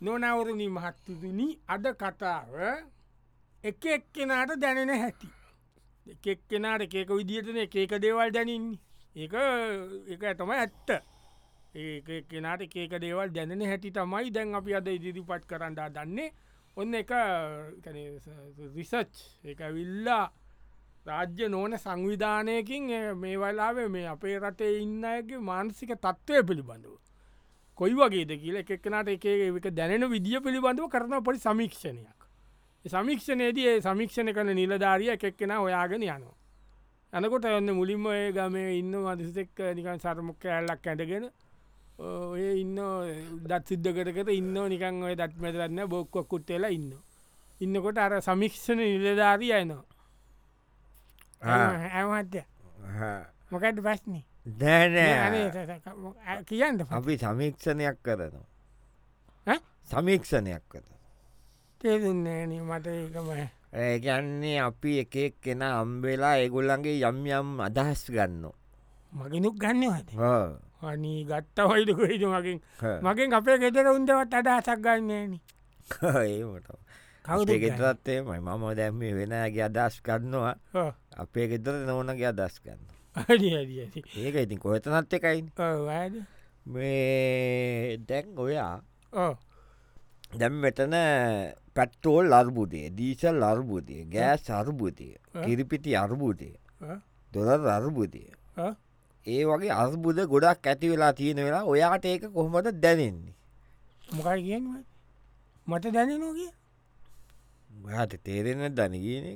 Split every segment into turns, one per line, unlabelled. නොනවරණි මහත්තුදුනි අද කතාව එක එක්කෙනාට දැනෙන හැටි. එකෙක්කෙනාට එකක විදිහටන එකක දේවල් දැනන්නේ. ඒ එක ඇතම ඇත්ත. ඒ කෙනට එකක දේවල් දැනෙන හැටි තමයි දැන් අපි අද ඉදිරිපත් කරන්නා දන්නේ ඔන්න එක රිසච් එක විල්ලා රාජ්‍ය නෝන සංවිධානයකින් ඒ මේ වලාවේ මේ අපේ රටේ ඉන්නගේ මානසික තත්ත්වය පිළිබඳුව. කොයි වගේද කියල එකක්නට එක එක දැනෙන විදිිය පිළිබඳව කරන පොඩි සමීක්ෂණයක්. ඒ සමීක්ෂණයේදී ඒ සමීක්ෂණ කරන නිලධාරිය එකක්කෙන ඔයාගෙන යනවා. යනකොට ඔන්න මුලින්ම ඒ ගමේ ඉන්න මදිසෙක් නිකන් සරමුක් ඇල්ලක් ඇටගෙන ඔය ඉන්න දත් සිද්ධකරකට ඉන්න නිකන් ඔය දත්මතරන්න බොක්කොක් කුට්ටෙලා ඉන්න. ඉන්නකොට අර සමික්ෂණ නිලධාරිය යනවා. ඇමත්ය මොකට ප්‍රශ්නි
දෑනෑ
කියන්න
අපි සමීක්ෂණයක් කරනවා
ඈ?
සමීක්ෂණයක් කර
තේරන්නේන මට ඒකම
ඒගන්නේ අපි එකෙක් කෙන අම්බෙලා ඒගොල්ලන්ගේ යම් යම් අදහස් ගන්න
මගෙනුක් ගන්නවද අනී ගත්ත හොයිද කොයිද මගින්
හ්ම්.
මගින් අපේ ගෙදර උන්දවත් අදහසක් ගන්නේන
ඒමට
කවුද
ගෙතරත්තේ මයි මම දැම්ම වෙනගේ අදස් කරන්නවා අපේ ගෙතර නොවනගේ අදස් ගන්න
අඩිඩිය
ඒක ඉතින් කොහතනත් එකයින්
ඔවාද
මේ දැන් ඔයා
ඕ
දැම් මෙතන පැට්ටෝල් අර්බුදය දීසල් අර්බුදය ගෑ සර්බුදය
ඈ?
කිරිපිටි අර්බුදය දොලර් අර්බුදය
ඈ?
ඒ වගේ අර්බුද ගොඩක් ඇති වෙලා තියෙන වෙලා ඔයාට ඒක කොහොමට දැනෙන්නේ
මොකයි කිය මට දැනනෝගේ
ඔයාට තේරෙන දැනගෙන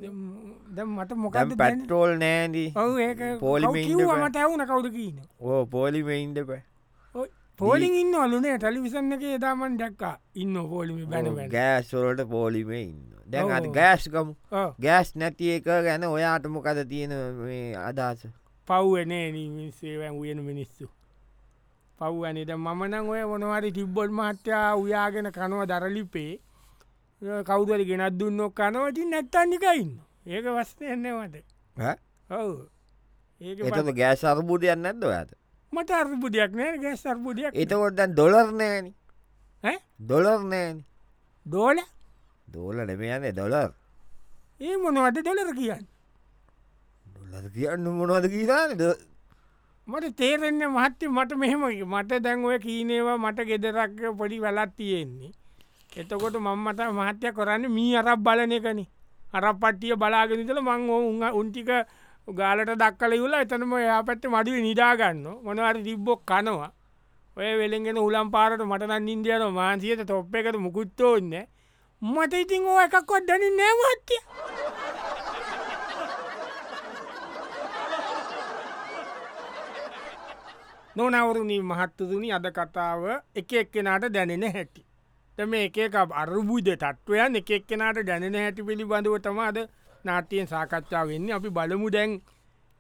ද මට මොක
කම් පැට්ටෝල් නෑදී
ඔව ඒක
පෝලිමේ ඉන්න බෑ.
මට ඇවුන කවුද කියන්න
ඕ පෝලිමඉන්ඩ පැ
පෝලිින් ඉන්න අලුනේ ටලිවිසන්න එක දාමන් දැක්කා ඉන්න පෝලිමි බැනබැන
ගෑස්වලට පෝලිමේ ඉන්න දැන් අ
ඔව්.
ගෑස්කම් ගෑස් නැති එක ගැන ඔයාටම කද තියෙන මේ අදහස
පව්වනේ නිසේවැන් වයන මිනිස්සු පව්වනට මමනං ඔය මොනවාරි තිබ්බොල් මහත්තයා උයාගෙන කනවා දරලිපේ කෞදල ගෙනත් දුන්නොක් කනවති නැත්තන්නිකයින්න ඒක වස්නයන්නවට
ඈ?
ඔව ඒක
එතට ගෑස් අර්බුදයන්න නැද ඔයාට
මට අර්පුදයක් නෑ ගැස් අර්පුදයක්
එතකොට දැන් ඩොලර් නෑන
ඈ?
ඩොලර් නෑන
දෝල
දෝල නෙමයන්නේ ඩොලර්
ඒ මොනවට දොලර කියන්න
ඩොලර් කියන්න මොනවද කියන්න
මට තේරෙන්න මහත්්‍ය මට මෙහෙම මට දැන් ඔය කීනේවා මට ගෙදරක් පොඩි වෙලත් තියෙන්නේ. එතකොට මංමට මහත්‍ය කරන්න මී අරක් බලන එකන අරක් පට්ටිය බලාගෙනතල මං ඕ උන් උන්ටික ගාලට දක්කල යුලා එතනම එයා පැත්ත මඩුව නිඩාගන්න මොනවර තිබ්බොක් කනවා ඔය වෙළගෙන උලම් පාරට මටනන් ඉන්දියන මාන්සියට තොප්ප එකට මුකුත්තෝ ඉන්න මට ඉතින් ඕ එකක්කොත් දැන නෑමත්්‍ය නොනවරුණී මහත්තතුනි අද කතාව එක එක්කෙනට දැනෙන හැටි. තම එකක අරබුද තත්ත්වයන් එක එක්කෙනට දැනෙන හැටි පිළිබඳව තමාද නාටයෙන් සාකච්ඡා වෙන්න අපි බලමු දැන්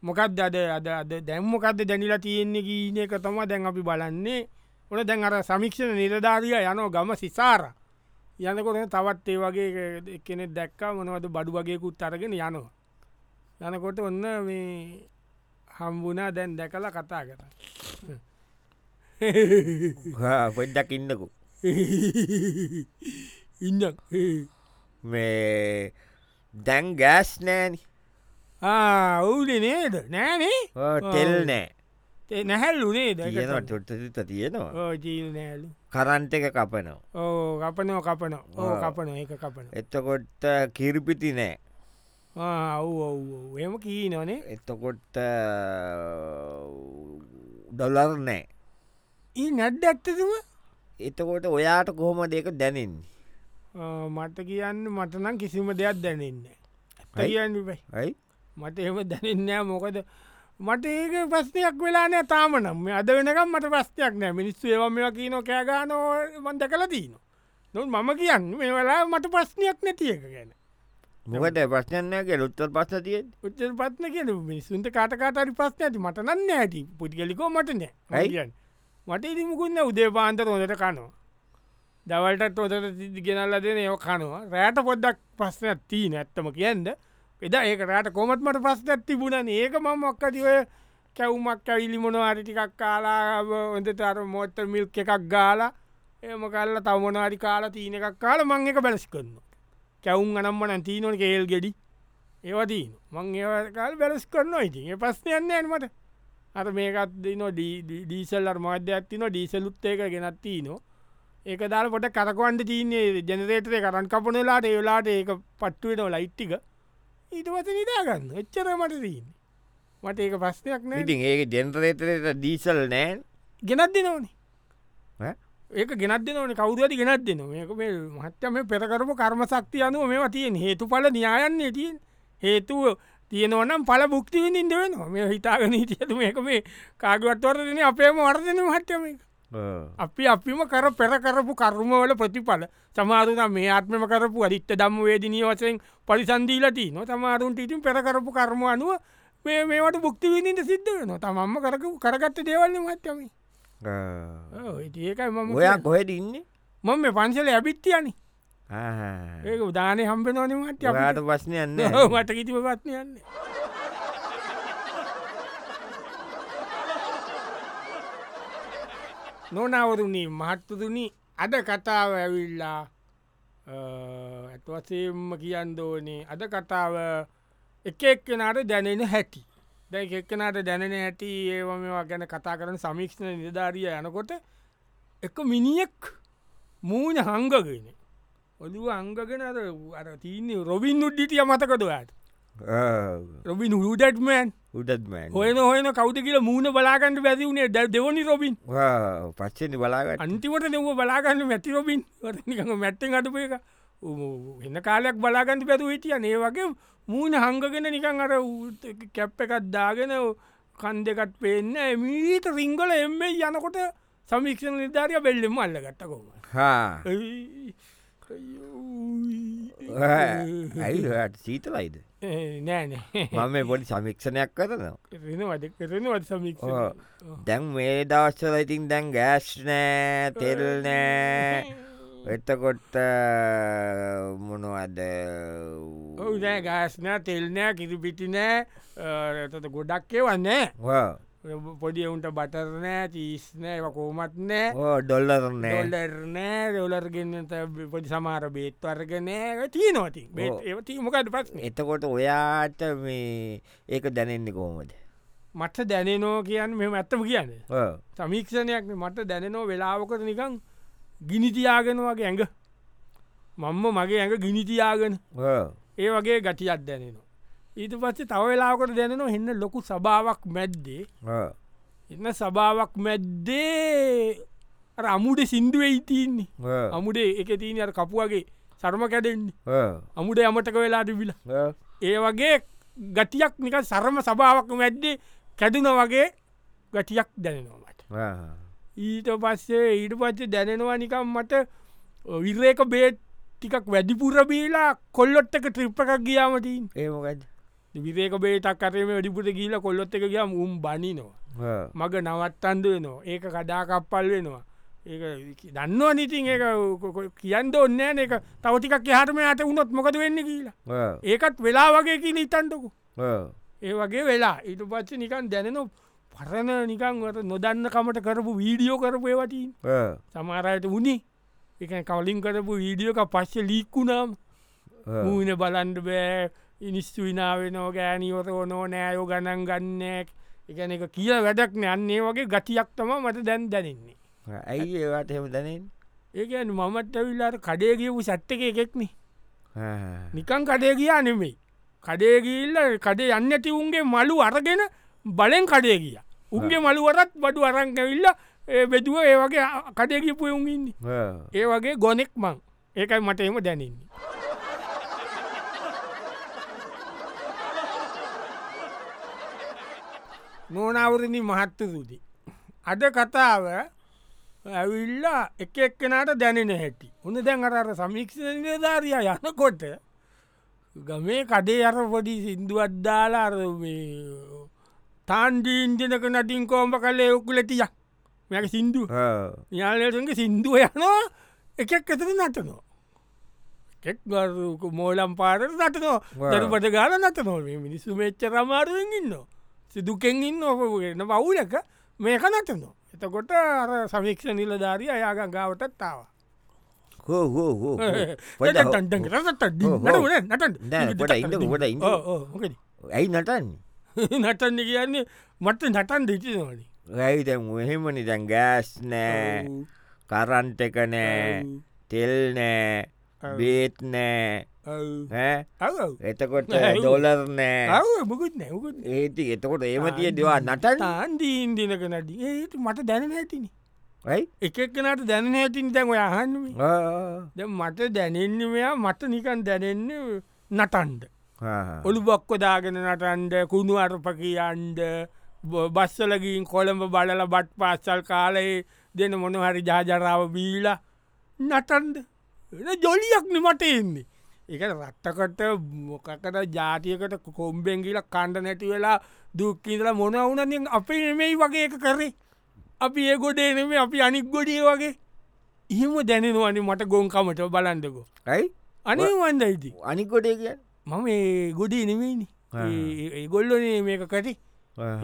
මොකක්ද අද අද අද දැම්මොකක්ද දැනිලා තියෙන්නේ ගීන එක තම දැන් අපි බලන්නේ ඕන දැන් අර සමික්ෂණ නිලධාරිය යනෝ ගම සිසාර යනකොට තවත් ඒ වගේ කෙනෙ දැක්කා මොනවද බඩු වගේකුත් අරගෙන යනවා යනකොට ඔන්න මේ හම්බුනා දැන් දැකලා කතා කර
පොඩ්ඩක් ඉන්නකු
ඉන්න
මේ දැන් ගෑස් නෑන
ඔවුද නේද නෑනේ
තෙල්
ආ.
නෑ
තේ නැහැල්ලු නේද
තියෙනවා චොට්ටත තියෙනවා
ජීල් නෑලු
කරන්ට එක කපනවා
ඕ කපනෝ කපන ඕ
ආ.
කපන ඒක කපන
එතකොට කිරිපිති නෑ
ඔව් ඔව් ඔව්. එහෙම කී නොනේ
එතකොට ඩොලර් නෑ
ඒ නැඩ්ඩ ඇත්තතුම
එතකොට ඔයාට කොහොම දෙක දැනෙන්නේ
මට කියන්න මටනම් කිසිම දෙයක් දැනන්න ඇත්ත
ඇයි?
කියන්න බයි
යි
මට එහෙම දැනන්නෑ මොකද මට ඒක ප්‍රස්නයක් වෙලා නෑ තාම නම් මේ අද වෙනකම් මට ප්‍රස්නයක් නෑ මිනිස්සු ඒවම කියන කෑගානෝමන්ද කල දීන නොන් මම කියන්න මේ වෙලා මට ප්‍රශ්නයක් නැතියක ගැන
මොකට ප්‍රශ්නය කෙ ුත්තර පස්ස තියෙන
උත්තර පත්න කියන මිනිස්සුන්ට කාටකාටරි ප්‍රශ්න ඇති මට නන්න ඇති පුද්ගලිකෝ මට නෑ
ඇයි?
කියන්න මට ඉදිමුකුන්න උදේ පාන්ත හොඳට කනවා දවල්ටත් හොදට ගෙනල්ල දෙන ඒ කනවා රෑට පොද්දක් ප්‍රශ්නයක් තිී නැත්තම කියන්න එදා ඒක රෑට කොමත්මට ප්‍රශ්නයක් තිබුණන ඒක ම මොක්කතිව කැවුමක් ඇවිලි මොන අරිටිකක් කාලා ඔොඳතර මෝත්ත මිල්ක එකක් ගාලා එම කල්ල තවමනාරි කාලා තියන එකක් කාල මං එක බැලස් කරන්න කැවුම් අනම්ම නැතිනොට කේල් ගෙඩි ඒවතිීන මං ඒකාල් බැලස් කරන්න ඉතින් ඒ පස්සයන්න ඇන්මට අර මේකත් දෙන ඩීසල්ලර් මාධ්‍ය ඇත්තින ඩීසලුත්තේක ගෙනත්තිී නො ඒක දාල පොට කරකවන්ට තිීන්නේ ජනරේටය කරන් කපනලාට ඒලාට ඒක පට්ටුවෙන ලයිට්ටික ඊටවස නිදාගන්න එච්චර මට දීන්න මට ඒක ප්‍රස්නයක් නෑ
ඉතින් ඒක ජෙන්ටරේතරයට ඩීසල් නෑන්
ගෙනත් දෙනවනේ ඒක ගෙනත් දෙනවන කවුදති ගෙනත් දෙන මේක මේ මහත්තම පෙරකරපු කර්ම සක්තිය අනුව මේ තියෙන් හේතු පල න්‍යායන්නේ තියෙන් හේතුව තියෙනවනම් පල බුක්තිවිඳින්ද වෙන මේ හිතාගෙන හිටියතු මේක මේ කාගවත්වරදන අපේම වර්දන මහට්ටම අපි අපිම කර පෙරකරපු කර්මවල ප්‍රතිඵල සමාරුන මේ ආත්මම කරපු අරිත්ත දම්ම වේදිනී වසයෙන් පරිසන්දීලති නො සමාරුන්ට ඉතින් පෙරකරපු කර්ම අනුව මේ මේවට බුක්තිවිඳින්ට සිද්ධ වෙන තමම්ම කරකු කරගත්ත දේවල්න්න මත්තම ඒකයි මම
ඔයා කොහෙට ඉන්නේ
මම මේ පන්සල ඇබිත්තියනි ඒක උදානය හම්බෙන නොනමට
යාට පස්්නයන්න
මට කිතිව පත්නයන්න නොනවරුණී මහත්තුතුනි අද කතාව ඇවිල්ලා ඇත්වසේම කියන්දෝනේ අද කතාව එක එක්කෙනට දැනෙන හැටි දැ එක්කනට දැනෙන හැටි ඒව මේවා ගැන කතා කරන සමීක්ෂණ නිධාරිය යනකොට එක මිනිියෙක් මූුණ හංගගෙන ඔදුව අංගගෙන අර අර තිීන්නේ රොබින් උඩ්ඩිටිය මතකතුට රොබින් හඩටමෑන්
උඩත්ම
හොයන හොයන කවුද කියල මූුණ බලාගන්නට බැති වුණේ දැ දෙවනි රොබින්
පච්චෙන් බලාගට
අන්තිමට නෙව බලාගන්න මැති රොබින් මැත්තෙන් අටප එක එන්න කාලයක් බලාගන්ට පැතු හිටිය නේ වගේ මූුණ හංගගෙන නිකං අර ඌ- කැප් එකත් දාගෙන කන් දෙකත් පේන්න මීට රිංගල එම යනකොට සමික්ෂණ නිධාරය බෙල්ලෙම අල්ල ගත්තකොම
ඇයිට සීතලයිද
නෑනේ
මම මේ පොඩි සමික්ෂණයක් කරනවා
රෙනවද කරනවත් සමික්ෂ
ඔව්. දැන් මේ දවස්සල ඉතින් දැන් ගෑස් නෑ තෙල් නෑ එතකොට මොනවද
ඔවුනෑ ගෑස්නෑ තෙල්නෑ කිරි පිටි නෑ තත ගොඩක්කේ වන්නේ පොඩි ඔවුන්ට බටරනෑ චීස්නෑ කෝමත් නෑ
ඩොල්ලර නෑ
ඩොල්ලර්නෑ රෙවලර් ගන්නත පොඩි සමාර බේත් වර්ගනෑ තිී නොති
ඔව්.
ඒති මොකද පත්නේ
එතකොට ඔයාට මේ ඒක දැනෙන්නේ කෝමද
මට දැනනෝ කියන්න මෙම ඇත්තම කියන්න සමීක්ෂණයක් නේ. මට දැනනෝ වෙලාවකට නිකං ගිනිතියාගෙන වගේ ඇඟ මංම මගේ ඇඟ ගිනිතියාගෙන ඒ වගේ ගටියත් දැනෙනවා. ඊට පස්සේ තව වෙලාකට දැනෙන එන්න ලොකු සභාවක් මැද්දේ එන්න සභාවක් මැද්දේ අර අමුඩ සින්දුව ඉතින්නේ අමුඩේ එක තිීන අර කපුුවගේ සරම කැඩෙන්නේ අමුඩ යමටක වෙලාට විල ඒ වගේ ගටියක් නික සරම සභාවක් මැද්දේ කැදුන වගේ ගටියක් දැනෙනවාට ඊට පස්සේ ඊට පච්චේ දැනෙනවා නිකම් මට විර්රේක බේත් ටිකක් වැඩිපුර බීලා කොල්ලොට්ටක ට්‍රිප්ප එකක් ගියාමටීන්
ඒමකද
විරේක බේටක් කරේ වැඩිපුට ගීල කොල්ලොත් එක ගියම් උම් බනිනවා මග නවත්තන්ද වෙනවා ඒක කඩාකප්පල් වෙනවා ඒ දන්නවා නිතින් ඒ කියන්න ඔන්න එක තවටිකක් යාටම යට වුණොත් මොකද වෙන්න කියලා ඒකත් වෙලා වගේ කියල ඉතන්ටකු ඒ වගේ වෙලා ඉට පච්ච නිකන් දැනන පරණ නිකන් වට නොදන්න කමට කරපු වීඩියෝ කරපය වටින් සමාරයට වුණේ එක කවලින් කරපු වීඩියෝක පස්ස ලීක්කුුණම් මූන බලන්ඩ බෑ ඉනිස්තු විනාවෙනෝ ගෑනියොත ඕනෝ නෑයෝ ගණන් ගන්නෙක් එකන එක කිය වැඩක් නයන්නේ වගේ ගතියක් තම මට දැන් දැනන්නේ
ඇයි ඒවාට හෙම දැනෙන්
ඒකන් මමත් ඇවිල්ලාට කඩේගියපු සට්ටක එකෙක්නේ නිකං කඩේ ගියා නෙමෙයි කඩේගිල්ල කඩේ යන්න ඇති උන්ගේ මලු අරගෙන බලෙන් කඩේ ගිය උන්ගේ මළුවරත් බඩු අරංකවිල්ල බෙදුව ඒ වගේ කඩේගිපු උන්ගන්නේ ඒ වගේ ගොනෙක් මං ඒකයි මට එම දැනන්නේ නෝනවරණි මහත්ත සුති අද කතාව ඇවිල්ලා එක එක්කෙනට දැනෙන හැටි උන්න දැන් අර අර සමීක්ෂණ නිලධාරිය යනකොට ගමේ කඩේ අර පොඩි සිින්දුවත්දාලා අර මේ තාන්ඩීන්ජනක නටින් කෝම්ප කලේ ඔක්කුලටියක් මෙ සිින්දුව යාලටගේ සින්දුව යනවා එකක් ඇතර නටනවා එකෙක් ගරුක මෝලම් පාරට නටනෝ
ඔව්.
දරුපට ගාල නටනෝ මේ මිනිස්සු මෙච්ච රමාරුවෙන් ඉන්න සිදුකෙන් ඉන්න ඔපගෙන පවුලක මේක නටනෝ එතකොට අර සමික්ෂ නිලධාරිය අයාග ගාවටත්තාව
හෝ හෝ හෝ නෑ, පොඩ්ඩක් ඉන්නකෝ, පොඩ්ඩක් ඉන්නකෝ.
නටන්න
ඇයි නටන්
කියන්නේ මට නටන් දෙචනවලි
ඇයි දැන් එහෙමනි දැන් ගෑස් නෑ කරන්ට එක නෑ තෙල් නෑ
ඔව්.
බේත් නෑ ඈ? එතකොට
ඇයි?
දොලර් නෑ
මුකුත් නැකුත්
ඒති එතකොට ඒම තිය දෙවා නටන්
තාන්දීන්දිනක නට ඒට මට දැන ඇතින
යි
එකක්නට දැන ඇතින් දැන් ඔය අහන්නුවේ ද මට දැනෙන්නේ මෙයා මට නිකන් දැනෙන්නේ නටන්ඩ ඔළු බොක්කො දාගෙන නටන්ඩ කුණු අරප කියන්ඩ බස්සලගින් කොළඹ බලල බට් පාස්සල් කාලයේ දෙන මොන හරි ජාජරාව බීලා නටන්ඩ ජොලියක්න මට එන්නේ එක රට්ටකට මොකකට ජාතියකට කොම්බෙන්ගිල කණ්ඩ නැති වෙලා දුක්කිදලා මොන වුනතින් අපි නෙමෙයි වගේ එක කරේ අපි ඒ ගොඩේ නෙමේ අපි අනික් ගොඩිය වගේ එහෙම දැනෙනවනි මට ගොන්කමට බලන්ඩකෝ
යි
අනේ වන්දයිති
අනිකොටේ කිය
මම ඒ ගොඩි නෙමේනි
ආ.
ඒගොල්ලොන මේක කටි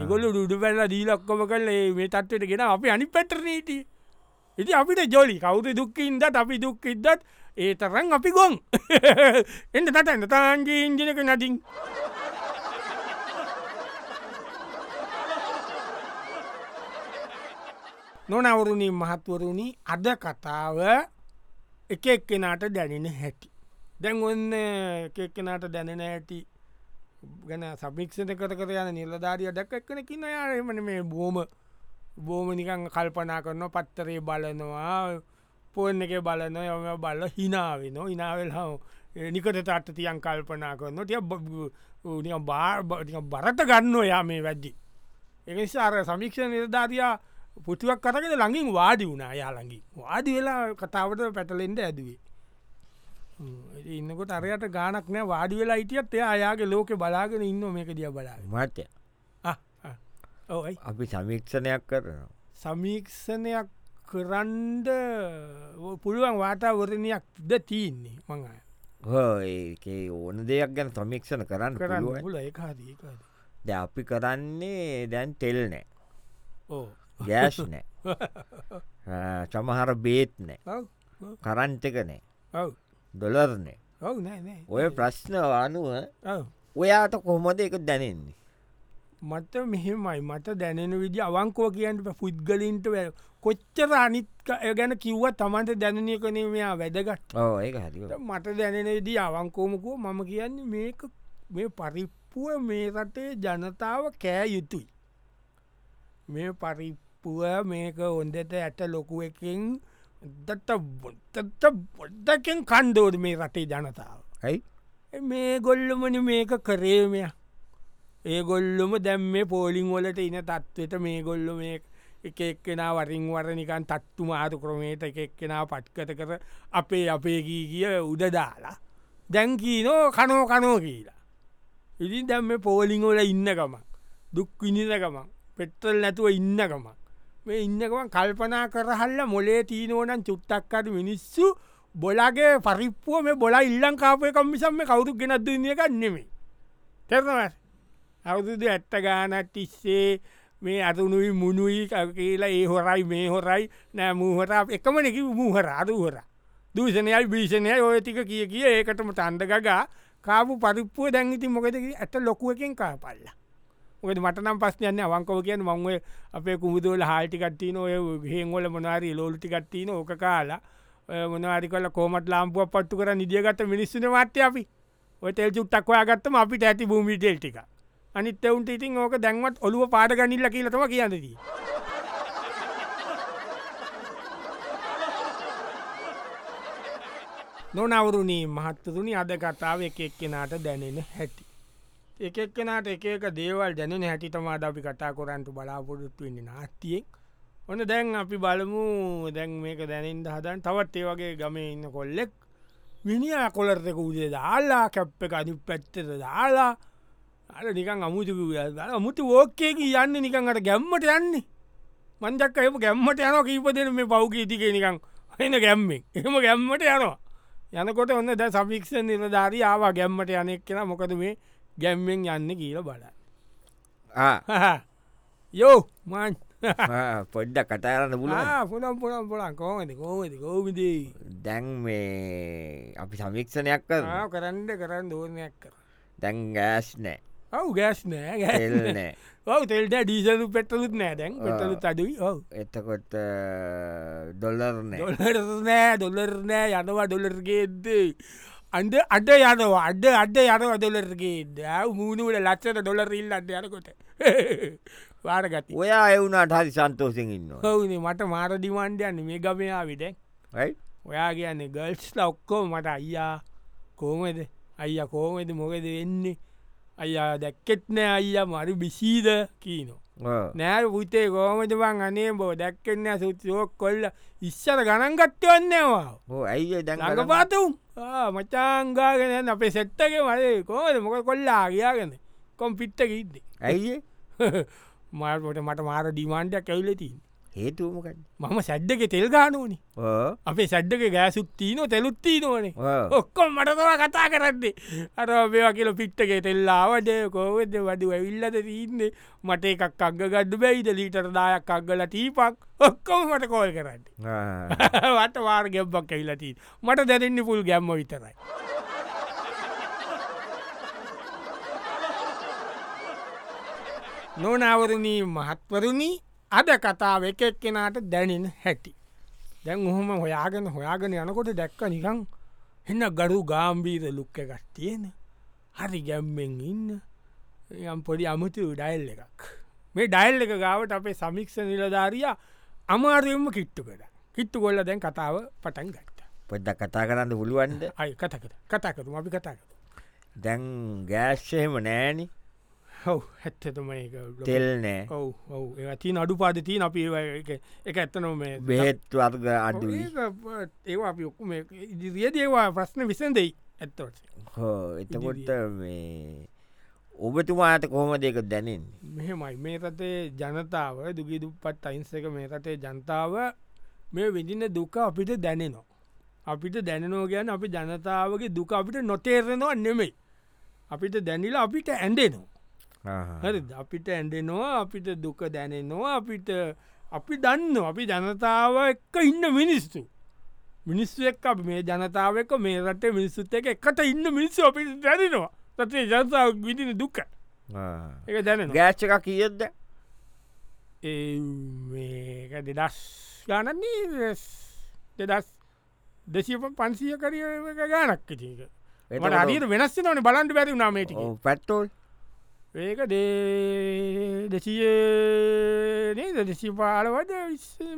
ගොල්ල ඩුඩු පැල්ල දීලක්කොම කල මේ තත්වට ගෙන අපි අනි පැටරනීටිය ඉති අපිට ජොලි කවුද දුක්කින්දත් අපි දුක්කිද්දත් ඒ තරන් අපි ගොන් එන්න තට ඇන්න තාන්ගේ ඉංජනක නටින් නොනවරුණී මහත්වරුණි අද කතාව එක එක්කෙනට දැනෙන හැටි. දැන් ඔන්න එකෙක්කෙනට දැනෙන ඇති ගැන සභික්ෂත කර කර යන නිලධාරිය දැක් එක්කන කින්න යාරමන මේ බෝම බෝමනිකං කල්පනා කරන පත්තරේ බලනවා පෝර්න එක බලන යම බල්ල හිනාවෙන ඉනාවල් හව නිකට තත්ත තියන් කල්පනා කරන තිය බාර් බරට ගන්න ඔයා මේ වැද්දි. එනිසාර සමික්ෂ නිර්ධාරයා පුටුවක් කරගෙන ළඟින් වාඩි වුණා යාළඟින් වාඩි වෙලා කතාවට පැටලෙන්ට ඇදුවේ ඉන්නකොට අරයට ගානක් නෑ වාඩි වෙලා හිටියත් එය අයාගේ ලෝක බලාගෙන ඉන්න මේක දිය බලාගෙන
මත්‍ය
ආ, ආ. ඔවයි
අපි සමීක්ෂණයක් කරනවා
සමීක්ෂණයක් කරන්ඩ ඔ- පුළුවන් වාතාවරණයක් ද තියන්නේ මං
හෝ ඒකේ ඕන දෙයක් ගැන සමීක්ෂණ කරන්න
කරන්න
පුළුවන්
පුල එකකාදකද
ද අපි කරන්නේ දැන් තෙල් නෑ
ඕ
ගෑස් නෑ ආ, සමහර බේත් නෑ
ඔව්
කරන්ට එක නෑ
ඔව්
දොලර්නේ
ඔව් නෑ නෑ
ඔය ප්‍රශ්න අනුව
ඔව්
ඔයාට කොහොමද එක දැනෙන්නේ
මට මෙහෙමයි මට දැනෙන විදි අවංකෝ කියන්ට පුද්ගලින්ට වැ කොච්චර අනිත් අය ගැන කිව්ව තමන්ට දැනනය කනේ මෙයා වැදගත්
ඕ ඒ හරි
මට දැනෙන විදි අවංකෝමකුව මම කියන්න මේක මේ පරිප්පුුව මේ රටේ ජනතාව කෑ යුතුයි මේ පරිප්පුුව මේක හොන්දට ඇට ලොකු එකින් දට බොත්තට බොඩ්ඩකෙන් කණ්ඩෝඩ මේ රටේ ජනතාව
ඇයි
මේ ගොල්ලමන මේක කරේමය ඒගොල්ලොම දැම් මේ පෝලිං වලට ඉන තත්ත්වයට මේ ගොල්ලො මේ එක එක්කෙන වරින් වර නිකන් තත්තු මාරු ක්‍රමේට එක එක්කෙන පට්කත කර අපේ අපේ ගී කිය උඩ දාලා දැන්කීනෝ කනෝ කනෝ කියලා ඉදි දැම්ම පෝලිංවල ඉන්නකමක් දුක් විනිනකමක් පෙත්තල් නැතුව ඉන්නකමක් මේ ඉන්නකමන් කල්පනා කරහල්ල මොලේ තිීනෝනන් චුට්ටක්කට මිනිස්සු බොලාගේ පරිප්පුුව මේ බොලා ඉල්ලං කාපය කම්මිසම්ම කවුරු ගෙනත් දුනිය ගන්නෙමේ තෙරනවස් අවුරුදු ඇත්ත ගානක් තිස්සේ මේ අතුනුයි මුණුයි ක- කියලා ඒ හොරයි මේ හොරයි නෑ මූහර එකමනක මූහර අදුහර දූෂණයයි භීෂණය ඔය ටික කිය කිය ඒකටම තන්ඩ ගගා කාපු පරිප්පුුව දැන්ගිති මොකද ඇට ලොකුවකින් කාපල්ලා ඔකද මටනම් පස්සයන්න අවංකව කියන මංව අපේ කුමුදවල හාල්ටිකත්තින ඔය හෙංවල මොනාරී ලෝල්ටිකත්තින ඕක කාලා මොනවාරි කල කෝමට ලාම්පුුව පට්ටු කර නිදියගත මිනිස්සුන වත්්‍ය අපි ඔය තෙල් චුට්ටක්වාගත්තම අපිට ඇති භූමිටෙල් ටික අනිත් එවුන්ට ඉතින් ඕක දැන්වත් ඔලුව පාඩගනිල්ල කියලතම කියන්නදී. නොනවරුණී මහත්තතුනි අද කතාව එක එක්කෙනට දැනෙන හැටි. එක එක්කෙනට එක එක දේවල් දැනෙන හැටි තමා අපි කතා කොරන්ට බලාපොරොත්තු වෙන්න නාට්තියෙක් ඔන්න දැන් අපි බලමු දැන් මේක දැනෙන්ට හදන් තවත් ඒ වගේ ගමේ ඉන්න කොල්ලෙක් මිනිිය කොලර්තක උදේ දාලා කැප්ප එක අනි පැත්තට දාලා අර නිකන් අමුතු මුතු ඕෝකයක යන්න නිකන්ට ගැම්මට යන්නේ මන්දක් එම ගැම්මට යන කීපදන මේ පෞ්ගීතිකේ නිකං එන ගැම්මෙන් එහම ගැම්මට යනවා යනකොට ඔන්න ද සපික්ෂ නිලධාරී ආවා ගැම්මට යනෙක් කෙන මොකද මේ ගැම්මෙන් යන්න කියල බල
ආ
යෝ මන්
පොඩ්ඩ කටයරන්න පුලුව
පුළම් පුළම් පුළන් කෝමද කෝමති කෝවිදී
දැන් මේ අපි සමික්ෂණයක් කර
කරන්න කරන්න දෝනයක් කර
දැන් ගෑස් නෑ
ඔවු ගෑස් නෑ
තෙල්
ගැ
නෑ
ඔව තෙල්ට ඩීසලු පෙටලුත් නෑ දැන් පෙටලු අඩුයි ඔව
එතකොට ඩොල්ලර් නෑ
දොල්ලර නෑ දොල්ලර නෑ යනවා දොල්ලර්ගේදේ අන්ද අඩ යනවා අඩ අඩ යනවා දොලර්ගේ දෑ මූුණුවට ලච්චට දොලර ඉල්ලන්න යනකොට වාරගති
ඔයා එවුණට හරි සන්තෝසිෙන් ඉන්නවා
හවුනේ මට මාර දිවන්ඩයන්න මේ ගමයා විට
යි
ඔයා කියන්නේ ගල්ස්ල ඔක්කෝ මට අයියා කෝමද අයිය කෝමද මොකද වෙන්නේ අයියා දැක්කෙත්නෑ අයිය මරු බිසීද කීනෝ නෑ පුතේ කෝමද බං අනේ බෝ දැක්කෙන්න සුත්යෝක් කොල්ල ඉස්සර ගණන්ගත්්‍යවන්නවා
හෝ ඇයි දැන්
ඟ පාතුම් මචාංගාගෙන අපේ සෙට්ටගේ මරේ කෝද මොක කොල්ලා ගයාගෙන කොම් පිට්ට ඉද්ද
ඇයි
මාර්පොට මට මාර ඩිමාන්ඩයක් ඇවුලතින්
හේතුවමකට
මම සැඩ්ඩක තෙල් ගානුවනි අපේ සැඩ්ඩක ගෑසුත්තිීන තෙලුත්තිී නොනේ ඔක්කොම් මටතව කතා කරන්නේ අර මේවා කියල පිට්ටගේ තෙල්ලාවද කෝවෙද වඩු ඇවිල්ලද තිීන්නේ මට එකක් අග ගඩ්ඩු බැයිද ලීටර දායක් අක්ගල ටීපක් ඔක්කොම මට කෝල් කරන්න වට වාර් ගැබ්බක් ඇල්ලතිී මට දැරෙන්නේ පුල් ගැම්ම විතරයි නොනවරණී මහත්වරුණී අද කතාව එක එක්කෙනාට දැනෙන හැටි. දැන් ඔහොම හොයාගෙන හොයාගෙන යනකොට දැක්ක නිකං එන්න ගඩු ගාම්බීර ලුක්ක එකක් තියෙන හරි ගැම්මෙන් ඉන්න යම් පොඩි අමුතු ඩයිල් එකක් මේ ඩයිල් එක ගාවට අපේ සමික්ෂ නිලධාරිය අමාරයම කිට්ටු කර කිට්ටු කොල්ල දැන් කතාව පටන් ගත්ත
පොඩ්ඩක් කතා කරන්න පුළුවන්ද
අය කතකට කතාකරු අපි කතාකරු
දැන් ගෑස්්‍යහෙම නෑනි
හව් හැත්තතම
තෙල් නෑ
ඔව ඔව ඒති අඩු පාදතින් අපි ඒවා එක- එක ඇත්තනොම
බෙහෙත් වර්ග අඩුයි
ඒවා අපි ඔක්කුම ඉදිරිිය දේවා ප්‍රශ්න විසන්දයි ඇත්තවට
හෝ එතකොට මේ ඔබතුමාට කොහොම දෙක දැනෙන්නේ
මෙහෙමයි මේ රටේ ජනතාව දුගී දුපත් අයින්සක මේ රටේ ජනතාව මේ විඳින්න දුක අපිට දැනෙනවා. අපිට දැනනෝ ගැන අපි ජනතාවගේ දුක අපිට නොතේරෙනවා නෙමෙයි. අපිට දැනිලා අපිට ඇන්ඩෙනවා. හරි අපිට ඇඩෙනවා අපිට දුක දැනෙනවා අපිට අපි දන්න අපි ජනතාව එක්ක ඉන්න මිනිස්සු මිනිස්සු එක් අප මේ ජනතාවක මේ රට මිනිස්සුත් එක එකට ඉන්න මිනිස්සු අපි දැනෙනවා තේ ජනතාව විදින දුක එක දැනෙන
ගෑච්චක කියද්ද
ඒ දෙදස් ගානන්නේ දෙදස් දෙශීප පන්සිය කරිය ගානක් ටක මට අරියට වෙනස් නන බලන්ට බැරි නාමේටික
පැට්ටෝල්
ඒක දේ දෙසියේ දෙසි පාලවද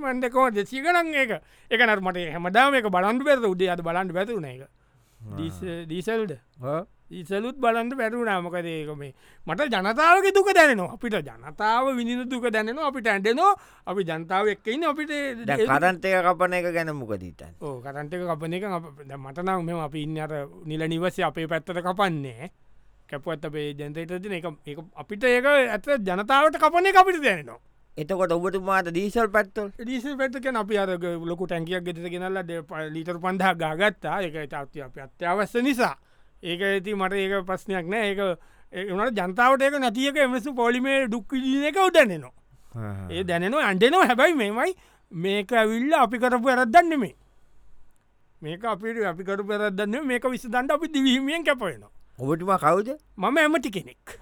මන්දකෝ දෙසි කරන් ඒක එකනට මට හැමදාම එක බලන්ඩ පැත උදේ අද බලන්ඩ පැතුන එක දීසල්ද ඉසලුත් බලන්ට පැරුණාමකදේක මේ මට ජනතාවගේ දුක දැනවා අපිට ජනතාව විනිඳ දුක දැනවා අපිට ඇඩනෝ අපි ජනතාව එක්කයින්න අපිට
කරන්තය කපන එක ගැන මොකදීතන්
ඕ කරන්ටක කපන එක මටනම් මෙම අපි ඉන්න අර නිල නිවසේ අපේ පැත්තට කපන්නේ කැපුවත් අපේ ජනතයට තින එක ඒක අපිට ඒක ඇත ජනතාවට කපන එක අපිට දැනවා
එතකොට ඔබතුමාට දීසල් පැත්තොල්
ඩිස පැත්තක අපි අර ලොකු ටැන්කියක් ගෙට ගෙනල්ල ලීටර් පන්ඳහ ගාගත්තා ඒක චත්ති අප අත්‍යවස්ස නිසා ඒක ඇති මට ඒක ප්‍රශ්නයක් නෑ ඒක ඒනට ජනතාවට ඒක නැතික එමසු පොලිමේ දුක්විදින එක උදැනෙනවා ඒ දැනනවා අන්ටනවා හැබැයි මෙමයි මේක ඇවිල්ල අපි කරපු ඇරත්දන්න මේ මේක අපිට අපි කරු පැරදන්න මේක විසදන්ට අපි දිවීමෙන් කැපයනවා
ඔබතුමා කවුද
මම ඇමටි කෙනෙක්